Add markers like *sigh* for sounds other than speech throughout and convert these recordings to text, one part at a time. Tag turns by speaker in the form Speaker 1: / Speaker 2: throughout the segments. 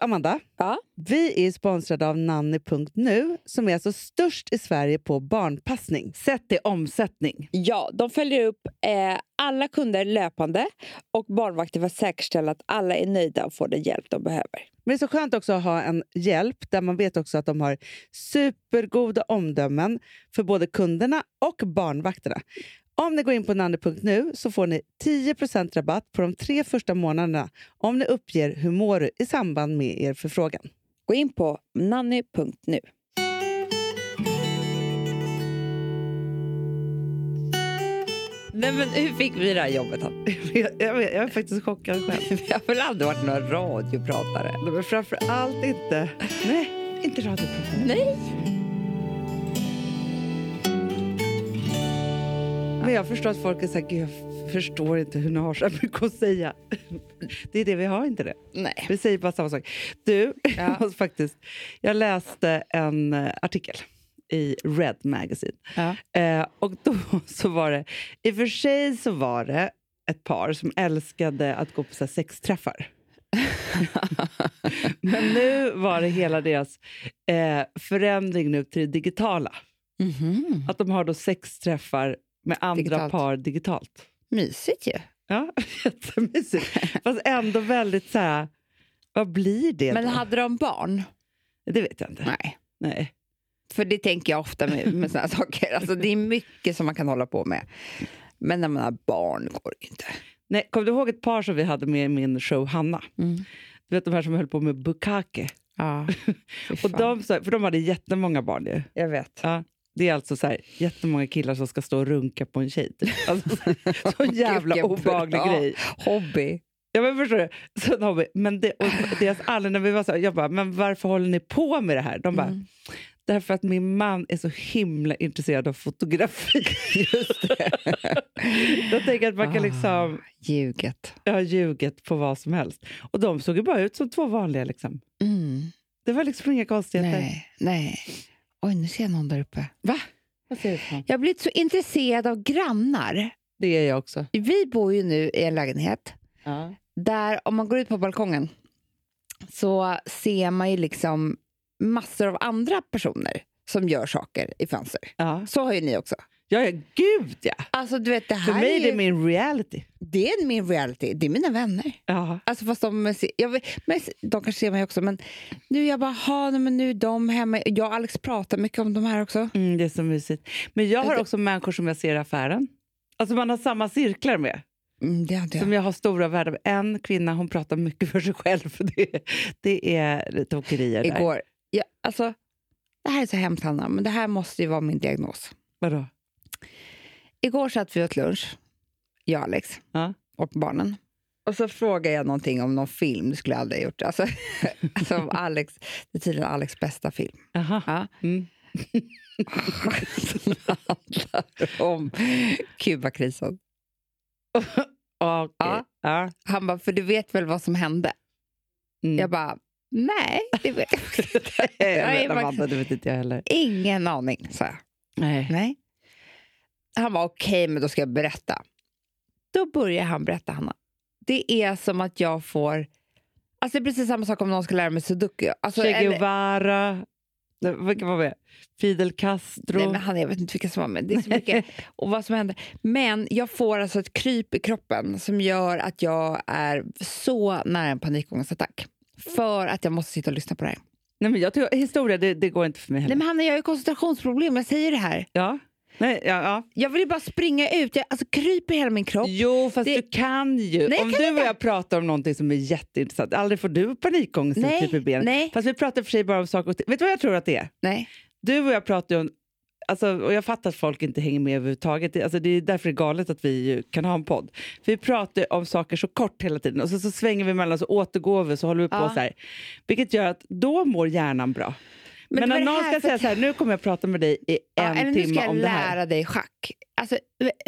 Speaker 1: Amanda,
Speaker 2: Ja.
Speaker 1: vi är sponsrade av nanny.nu som är alltså störst i Sverige på barnpassning sett till omsättning.
Speaker 2: Ja, de följer upp eh, alla kunder löpande och barnvakter för att säkerställa att alla är nöjda och får den hjälp de behöver.
Speaker 1: Men det är så skönt också att ha en hjälp där man vet också att de har supergoda omdömen för både kunderna och barnvakterna. Om ni går in på nanny.nu så får ni 10 rabatt på de tre första månaderna om ni uppger hur mår du i samband med er förfrågan.
Speaker 2: Gå in på nanny.nu. Nej, men hur fick vi det här jobbet? Hanna?
Speaker 1: *laughs* Jag, jag är faktiskt chockad själv. *laughs*
Speaker 2: Vi har väl aldrig varit några radiopratare?
Speaker 1: Men framför allt inte... Nej, inte radioprogrammet.
Speaker 2: Nej.
Speaker 1: Men jag förstår att folk är så här, "Gud, jag förstår inte hur ni har så här mycket att säga. Det är det vi har inte det.
Speaker 2: Nej.
Speaker 1: Vi säger bara samma sak. Du,
Speaker 2: Ja.
Speaker 1: *laughs* jag måste faktiskt, jag läste en eh, artikel i Red Magazine.
Speaker 2: Ja.
Speaker 1: Eh, och då *laughs* så var det, i och för sig så var det ett par som älskade att gå på så här
Speaker 2: *laughs*
Speaker 1: sexträffar. Men nu var det hela deras eh, förändring nu till det digitala.
Speaker 2: mm
Speaker 1: Att de har då sexträffar med andra
Speaker 2: Digitalt.
Speaker 1: par digitalt.
Speaker 2: Mysigt ju.
Speaker 1: Ja, *laughs* jättemysigt. Fast ändå väldigt så här, vad blir det
Speaker 2: Men
Speaker 1: då?
Speaker 2: hade de barn?
Speaker 1: Det vet jag inte.
Speaker 2: Nej.
Speaker 1: Nej.
Speaker 2: För det tänker jag ofta med, med såna här *laughs* saker. Alltså, det är mycket som man kan hålla på med. Men när man har barn går det ju inte.
Speaker 1: Nej, kom du ihåg ett par som vi hade med i min show Hanna?
Speaker 2: Mm.
Speaker 1: Du vet de här som höll på med bukake. *laughs*
Speaker 2: Ja.
Speaker 1: Och de, sa- för de hade jättemånga barn ju.
Speaker 2: jag vet.
Speaker 1: Ja. Det är alltså så här, jättemånga killar som ska stå och runka på en tjej. typ. Alltså,
Speaker 2: *laughs*
Speaker 1: så- så jävla
Speaker 2: Vilken
Speaker 1: obehaglig
Speaker 2: bra
Speaker 1: grej.
Speaker 2: Hobby.
Speaker 1: Ja, men förstår du? Så de, bara, men det, och deras *laughs* alla, när vi var så här, jag bara, men varför håller ni på med det här? De bara, därför att min man är så himla intresserad av *laughs* fotografi. Just det. jag tänker att man kan liksom...
Speaker 2: Ah, ljuget.
Speaker 1: Jag har ljugit på vad som helst. Och de såg ju bara ut som två vanliga. Liksom.
Speaker 2: Mm.
Speaker 1: Det var liksom inga konstigheter.
Speaker 2: Nej, nej. Oj, nu ser jag någon där uppe.
Speaker 1: Va? Vad ser du på?
Speaker 2: Jag har blivit så intresserad av grannar.
Speaker 1: Det är jag också.
Speaker 2: Vi bor ju nu i en lägenhet
Speaker 1: Ja.
Speaker 2: där om man går ut på balkongen så ser man ju liksom massor av andra personer som gör saker i fönster.
Speaker 1: Ja.
Speaker 2: Så har ju ni också.
Speaker 1: Ja, ja, gud ja!
Speaker 2: Alltså du vet, det
Speaker 1: För
Speaker 2: här
Speaker 1: mig är
Speaker 2: är,
Speaker 1: det
Speaker 2: ju,
Speaker 1: min reality.
Speaker 2: det är min reality. Det är mina vänner.
Speaker 1: Ja.
Speaker 2: Alltså fast de, ser- jag, vet- men de kanske ser mig också, men nu är jag bara, "Ha, nej, men nu är de hemma. Jag och Alex pratar mycket om de här också.
Speaker 1: Mm, det är så mysigt. Men jag har
Speaker 2: Alltså-
Speaker 1: också människor som jag ser i affären. Alltså man har samma cirklar med.
Speaker 2: Mm, det hade jag.
Speaker 1: Som jag har stora värden med. En kvinna hon pratar mycket för sig själv. *laughs* Det, det är lite tokerier där.
Speaker 2: igår. Ja, alltså, det här är så hemskt, Hanna, men det här måste ju vara min diagnos.
Speaker 1: Vadå?
Speaker 2: Igår satt vi åt lunch, jag och Alex,
Speaker 1: Ja.
Speaker 2: och barnen. Och så frågade jag någonting om någon film, det skulle jag aldrig ha gjort. Alltså, *laughs* alltså om Alex, det är tydligen Alex bästa film.
Speaker 1: Aha.
Speaker 2: Ja.
Speaker 1: Mm.
Speaker 2: Som handlar om Kubakrisen.
Speaker 1: Okej.
Speaker 2: Ja.
Speaker 1: Ja.
Speaker 2: Han bara, för du vet väl vad som hände?
Speaker 1: Mm.
Speaker 2: Jag bara, nej, det vet jag inte.
Speaker 1: *laughs* Nej, men
Speaker 2: bara-
Speaker 1: Amanda, det vet inte jag heller.
Speaker 2: Ingen aning, sa jag.
Speaker 1: Nej.
Speaker 2: Nej. Han var okej, men då ska jag berätta. Då börjar han berätta, Hanna. Det är som att jag får... Alltså det är precis samma sak om någon ska lära mig sudoku. Alltså,
Speaker 1: Che
Speaker 2: eller-
Speaker 1: Guevara. Nej, Vilka var med? Fidel Castro.
Speaker 2: nej, men han, jag vet inte vilka som var med. Det är så *laughs* mycket. och vad som händer. Men jag får alltså ett kryp i kroppen som gör att jag är så nära en panikångestattack. För att jag måste sitta och lyssna på det här.
Speaker 1: Nej, men jag tycker, historia, det, det går inte för mig heller.
Speaker 2: Nej, men Hanna, jag har ju koncentrationsproblem. Jag säger det här.
Speaker 1: Ja. Nej, ja, ja.
Speaker 2: Jag vill ju bara springa ut. Jag alltså, kryper i hela min kropp.
Speaker 1: Jo, fast
Speaker 2: Det-
Speaker 1: du kan ju.
Speaker 2: jag
Speaker 1: om
Speaker 2: kan
Speaker 1: du och jag pratar om någonting som är jätteintressant, aldrig får du panikångest
Speaker 2: Nej,
Speaker 1: typ i benet.
Speaker 2: nej.
Speaker 1: Fast vi pratar i och för sig bara om saker och ting. Vet du vad jag tror att det är?
Speaker 2: Nej.
Speaker 1: Du och jag pratar ju om... Alltså, och jag fattar att folk inte hänger med överhuvudtaget. Det- Alltså, det är därför det är galet att vi ju kan ha en podd. För vi pratar ju om saker så kort hela tiden och så, så svänger vi mellan oss och återgår vi så håller vi på
Speaker 2: Ja.
Speaker 1: så här. Vilket gör att då mår hjärnan bra. Men,
Speaker 2: det var
Speaker 1: om
Speaker 2: det
Speaker 1: någon
Speaker 2: här
Speaker 1: ska säga
Speaker 2: för-
Speaker 1: så här, nu kommer jag prata med dig i
Speaker 2: Ja,
Speaker 1: en
Speaker 2: eller nu ska
Speaker 1: timme
Speaker 2: jag
Speaker 1: om det här.
Speaker 2: lära dig schack. Alltså,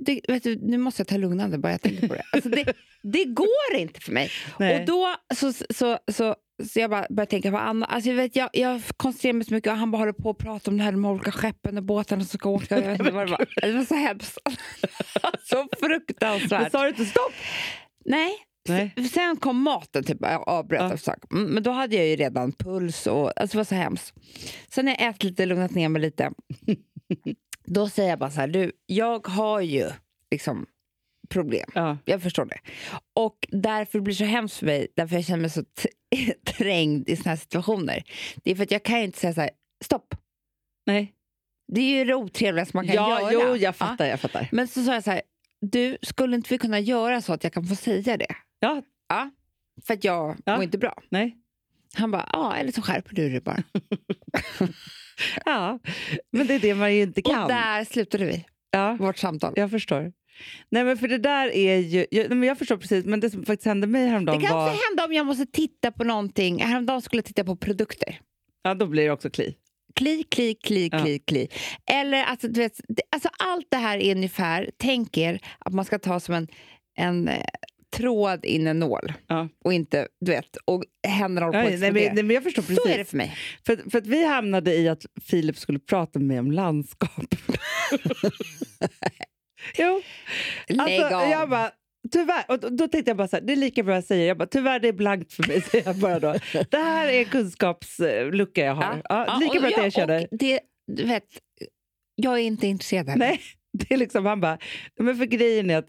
Speaker 2: det, vet du, nu måste jag ta lugnande bara jag tänker på det. Alltså, det, det går inte för mig.
Speaker 1: Nej.
Speaker 2: Och då så, så, så, så jag bara började tänka på Anna. Alltså, jag, vet, jag, jag koncentrerar mig så mycket och han bara håller på och pratar om det här med olika skeppen och båtarna som
Speaker 1: *laughs*
Speaker 2: ska åka. Jag vet inte vad det var. Det var *laughs* så hemskt. så fruktansvärt.
Speaker 1: Men sa du inte stopp?
Speaker 2: Nej,
Speaker 1: Nej.
Speaker 2: F- Sen kom maten, typ, jag avbröt
Speaker 1: Ja.
Speaker 2: av sak. Mm, Men då hade jag ju redan puls och alltså, det var så hemskt. Sen när jag ätit lite, lugnat ner
Speaker 1: *laughs*
Speaker 2: mig lite. då säger jag bara så här, du, jag har ju liksom problem.
Speaker 1: Ja.
Speaker 2: Jag förstår det. Och därför blir det så hemskt för mig, därför jag känner mig så t- *laughs* trängd i såna här situationer. Det är för att jag kan ju inte säga så här, stopp.
Speaker 1: Nej.
Speaker 2: Det är ju det otrevligaste man kan
Speaker 1: Ja,
Speaker 2: göra.
Speaker 1: jo, jag
Speaker 2: Ja.
Speaker 1: fattar. Jag fattar.
Speaker 2: Men så sa jag så här, du, skulle inte vi kunna göra så att jag kan få säga det?
Speaker 1: Ja.
Speaker 2: Ja, för att jag
Speaker 1: Ja.
Speaker 2: mår inte bra.
Speaker 1: Nej.
Speaker 2: Han bara, ja, eller så skärper du dig bara.
Speaker 1: Ja. Men det är det man ju inte kan.
Speaker 2: Och där slutade vi
Speaker 1: Ja.
Speaker 2: vårt samtal.
Speaker 1: Jag förstår. Nej men för det där är ju, jag, nej, men jag förstår precis, men det som faktiskt hände mig
Speaker 2: Det
Speaker 1: häromdagen
Speaker 2: kan
Speaker 1: var...
Speaker 2: också hända om jag måste titta på någonting. Häromdagen skulle jag titta på produkter.
Speaker 1: Ja då blir det också kli.
Speaker 2: Kli, kli, kli,
Speaker 1: Ja.
Speaker 2: kli, kli. Eller alltså, du vet, det- alltså allt det här är ungefär, tänk er att man ska ta som en, en eh, tråd in en nål.
Speaker 1: Ja.
Speaker 2: Och inte, du vet, och händerna håller
Speaker 1: Ja,
Speaker 2: på att
Speaker 1: nej, men,
Speaker 2: explodera.
Speaker 1: nej, men jag förstår precis.
Speaker 2: Så är det för mig.
Speaker 1: För, för att vi hamnade i att Filip skulle prata med mig om landskap. *laughs* jo,
Speaker 2: Lägg
Speaker 1: alltså
Speaker 2: av.
Speaker 1: jag bara, tyvärr, och då, då tänkte jag bara så här, det är lika bra att säga, jag bara, tyvärr det är blankt för mig, *laughs* säger jag bara då. Det här är en kunskapslucka jag har. Ja,
Speaker 2: Ja,
Speaker 1: lika
Speaker 2: och
Speaker 1: bra att jag erkänner.
Speaker 2: och det, du vet, jag är inte intresserad heller.
Speaker 1: Nej, *laughs* det är liksom, han bara, men för grejen är att,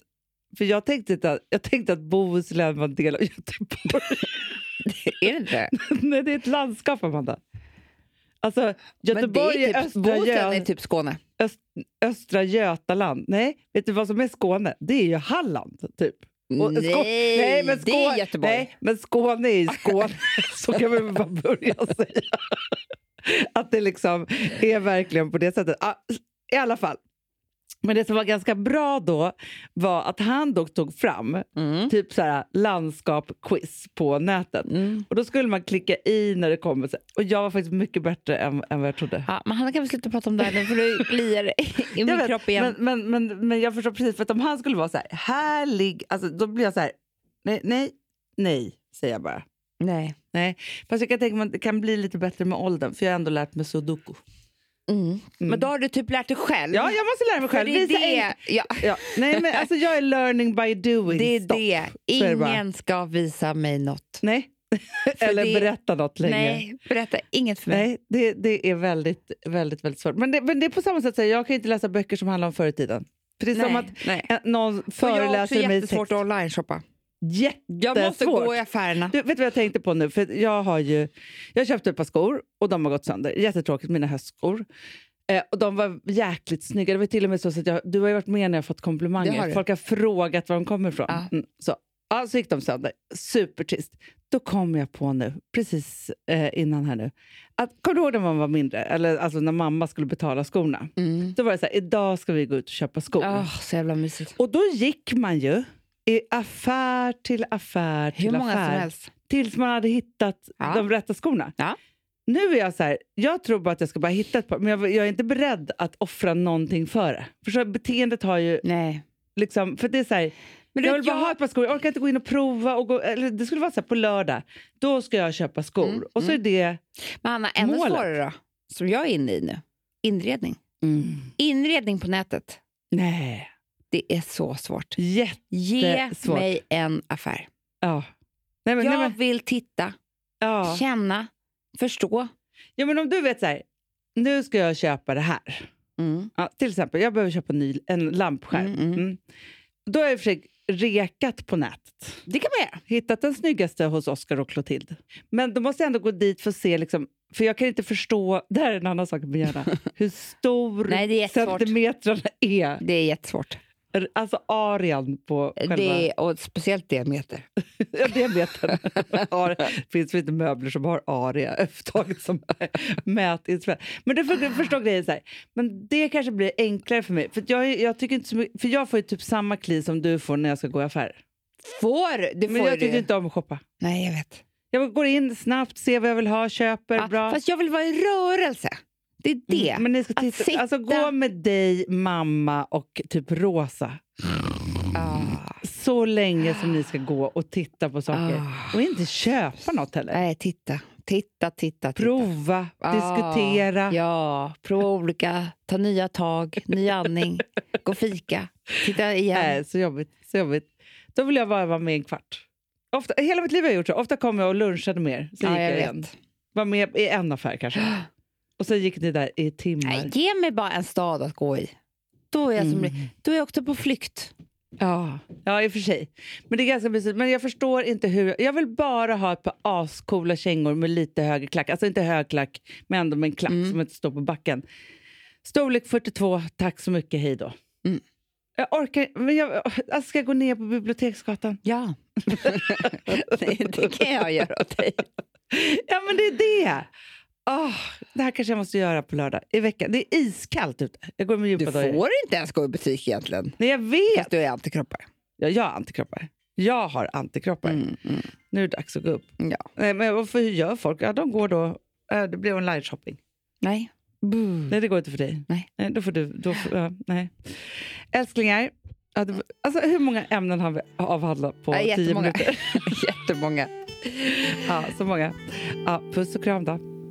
Speaker 1: för jag tänkte, inte att, jag tänkte att Bohuslän var en del av *laughs* Göteborg.
Speaker 2: Är det
Speaker 1: *laughs*
Speaker 2: inte?
Speaker 1: Nej, det är ett landskap, Amanda. Alltså, Göteborg
Speaker 2: Men det
Speaker 1: är,
Speaker 2: är typ,
Speaker 1: östra,
Speaker 2: Bohuslän
Speaker 1: Gö-
Speaker 2: är typ Skåne.
Speaker 1: östra Götaland. Nej, vet du vad som är Skåne? Det är ju Halland, typ. Och Skå-
Speaker 2: nej,
Speaker 1: men
Speaker 2: det
Speaker 1: Skå-
Speaker 2: är Göteborg.
Speaker 1: Nej, men Skåne är ju Skåne. *laughs* Så kan vi väl bara börja säga. *laughs* Att det liksom är verkligen på det sättet. Ah, I alla fall. Men det som var ganska bra då var att han dock tog fram
Speaker 2: Mm.
Speaker 1: typ så här landskap-quiz på nätet.
Speaker 2: Mm.
Speaker 1: Och då skulle man klicka i när det kom. Och jag var faktiskt mycket bättre än, än vad jag trodde.
Speaker 2: Ja, men Hanna kan vi sluta prata om det här nu
Speaker 1: *laughs*
Speaker 2: för du kliar i
Speaker 1: Jag
Speaker 2: min
Speaker 1: vet,
Speaker 2: kropp igen.
Speaker 1: Men, men, men, men jag förstår precis, för att om han skulle vara så här, här ligg, alltså, då blir jag så här, nej, nej, nej, säger jag bara.
Speaker 2: nej.
Speaker 1: Nej. Fast jag kan tänka mig att det kan bli lite bättre med åldern, för jag har ändå lärt mig sudoku.
Speaker 2: Mm.
Speaker 1: Mm.
Speaker 2: Men då har du typ lärt dig själv.
Speaker 1: Ja, jag måste lära mig
Speaker 2: För
Speaker 1: själv.
Speaker 2: det är
Speaker 1: Visa en-
Speaker 2: det, ja,
Speaker 1: Ja. Nej, men alltså jag är learning by doing.
Speaker 2: det, är
Speaker 1: Stopp.
Speaker 2: det.
Speaker 1: Så är det bara.
Speaker 2: Ingen ska visa mig något. *laughs*
Speaker 1: Nej. Eller
Speaker 2: det-
Speaker 1: berätta något längre.
Speaker 2: Nej, berätta. Inget för mig.
Speaker 1: Nej, det, det är väldigt, väldigt, väldigt svårt. Men det, men det är på samma sätt, så här, jag kan inte läsa böcker som handlar om förr i tiden. För det är som att
Speaker 2: nej.
Speaker 1: eh, någon
Speaker 2: Och jag har också
Speaker 1: föreläser mig
Speaker 2: jättesvårt
Speaker 1: text.
Speaker 2: att online-shoppa.
Speaker 1: Jätte-
Speaker 2: Jag måste
Speaker 1: Jättesvårt.
Speaker 2: gå i affärerna.
Speaker 1: Du, vet du vad jag tänkte på nu? För jag har ju jag köpte ett par skor och de har gått sönder. Jättetråkigt, mina höstskor. Eh, och de var jäkligt snygga. Det var till och med så att jag, du har ju varit med när jag har fått
Speaker 2: Det har
Speaker 1: komplimanger.
Speaker 2: du.
Speaker 1: Folk har frågat var de kommer ifrån.
Speaker 2: Ja.
Speaker 1: Mm, så. Ja, så gick de sönder. Supertrist. Då kom jag på nu, precis eh, innan här nu. Att, kommer du ihåg när man var mindre? Eller alltså när mamma skulle betala skorna.
Speaker 2: Mm.
Speaker 1: Då var det så här, idag ska vi gå ut och köpa skor.
Speaker 2: Oh, så jävla mysigt.
Speaker 1: Och då gick man ju i affär till affär till
Speaker 2: Hur många
Speaker 1: affär.
Speaker 2: som helst.
Speaker 1: Tills man hade hittat
Speaker 2: Ja.
Speaker 1: de rätta skorna.
Speaker 2: Ja.
Speaker 1: Nu är jag så här, jag tror bara att jag ska bara hitta ett par, men jag, jag är inte beredd att offra någonting för det. Förstår, du? beteendet har ju
Speaker 2: Nej.
Speaker 1: liksom, för det är så här,
Speaker 2: Men
Speaker 1: jag
Speaker 2: du
Speaker 1: vill
Speaker 2: vet,
Speaker 1: bara
Speaker 2: jag-
Speaker 1: ha ett par skor, jag orkar inte gå in och prova. Och gå, eller det skulle vara så här, på lördag, då ska jag köpa skor.
Speaker 2: Mm,
Speaker 1: Och så är det...
Speaker 2: Men Anna, ännu
Speaker 1: Målet.
Speaker 2: svårare då, som jag är inne i nu. Inredning. Inredning på nätet.
Speaker 1: Mm. Nej,
Speaker 2: Det är så svårt.
Speaker 1: jätte...
Speaker 2: Ge
Speaker 1: Jättesvårt.
Speaker 2: mig en affär.
Speaker 1: Ja. Nej, men, nej,
Speaker 2: Jag
Speaker 1: men,
Speaker 2: vill titta,
Speaker 1: ja.
Speaker 2: känna, förstå.
Speaker 1: ja, men om du vet så här, nu ska jag köpa det här.
Speaker 2: Mm.
Speaker 1: Ja, till exempel, jag behöver köpa en, ny, en lampskärm.
Speaker 2: Mm, mm.
Speaker 1: Mm. Då har jag i och för sig rekat på nätet.
Speaker 2: Det kan man göra.
Speaker 1: Hittat den snyggaste hos Oscar och Clotilde. Men då måste jag ändå gå dit för att se, liksom, för jag kan inte förstå, det här är en annan sak med
Speaker 2: *laughs*
Speaker 1: hjärna, hur stor
Speaker 2: Nej, det är jättesvårt.
Speaker 1: centimetrarna är.
Speaker 2: Det är jättesvårt.
Speaker 1: Alltså arean på själva *laughs*
Speaker 2: Det är, och speciellt diameter.
Speaker 1: ja, diametern. Ar- Det finns väl inte möbler som har area överhuvudtaget som mätinstrument. Men du för- förstår grejen så här. Men det kanske blir enklare för mig. För, att jag, är- jag, tycker inte så mycket, för jag får ju typ samma kli som du får när jag ska gå i affärer.
Speaker 2: Får det
Speaker 1: Men
Speaker 2: får
Speaker 1: jag
Speaker 2: du.
Speaker 1: tycker inte om att shoppa.
Speaker 2: Nej, jag vet.
Speaker 1: Jag går in snabbt, ser vad jag vill ha, köper
Speaker 2: Ja,
Speaker 1: bra.
Speaker 2: fast jag vill vara i rörelse. Det är det.
Speaker 1: Mm, Men ni ska
Speaker 2: Att
Speaker 1: titta.
Speaker 2: sitta-
Speaker 1: Alltså, gå med dig, mamma och typ Rosa mm,
Speaker 2: Ah.
Speaker 1: så länge som ni ska gå och titta på saker.
Speaker 2: Ah.
Speaker 1: Och inte köpa något heller.
Speaker 2: Nej, titta. Titta, titta, titta.
Speaker 1: Prova,
Speaker 2: Ah,
Speaker 1: diskutera.
Speaker 2: Ja, prova olika, ta nya tag, ny andning, gå och fika, titta igen.
Speaker 1: Nej, så jobbigt. Så jobbigt. Då vill jag bara vara med en kvart. Ofta, hela mitt liv har jag gjort så. Ofta kom jag och lunchade med er. Sen
Speaker 2: Ja,
Speaker 1: gick
Speaker 2: jag
Speaker 1: jag
Speaker 2: vet.
Speaker 1: igen. Var med i en affär
Speaker 2: *gasps*
Speaker 1: kanske. Och sen gick ni där i timmar.
Speaker 2: Nej, ge mig bara en stad att gå i. Då är jag, som,
Speaker 1: Mm.
Speaker 2: då är jag också på flykt.
Speaker 1: Ja. ja, i och för sig. Men det är ganska mysigt. Men jag förstår inte hur... Jag vill bara ha ett par ascoola kängor med lite högre klack. Alltså inte hög klack, men ändå med en klack
Speaker 2: Mm.
Speaker 1: som inte står på backen. Storlek 42, tack så mycket, hej då.
Speaker 2: Mm.
Speaker 1: Jag orkar... Men jag, alltså ska jag gå ner på Biblioteksgatan?
Speaker 2: Ja. *laughs* Nej, det kan jag göra åt dig.
Speaker 1: Ja, men det är det! Åh, det här kanske jag måste göra på lördag i veckan. Det är iskallt ute. Jag går med
Speaker 2: Du
Speaker 1: djupa dojor.
Speaker 2: får inte ens gå i butik egentligen.
Speaker 1: Nej, jag vet!
Speaker 2: Fast du är antikroppar.
Speaker 1: Ja, jag har antikroppar. Jag har antikroppar.
Speaker 2: Mm, mm.
Speaker 1: Nu är det dags att gå upp.
Speaker 2: Ja.
Speaker 1: Nej, men varför hur gör folk? Ja, de går då... eh, Det blir online shopping.
Speaker 2: Nej.
Speaker 1: Nej, det går inte för dig.
Speaker 2: Mm. Nej.
Speaker 1: då får du... Då får, ja, nej. Älsklingar, ja, det- alltså, hur många ämnen har vi avhandlat på
Speaker 2: Ja,
Speaker 1: tio
Speaker 2: jättemånga.
Speaker 1: minuter?
Speaker 2: *laughs* Jättemånga.
Speaker 1: Ja, så många. Ja, puss och kram då.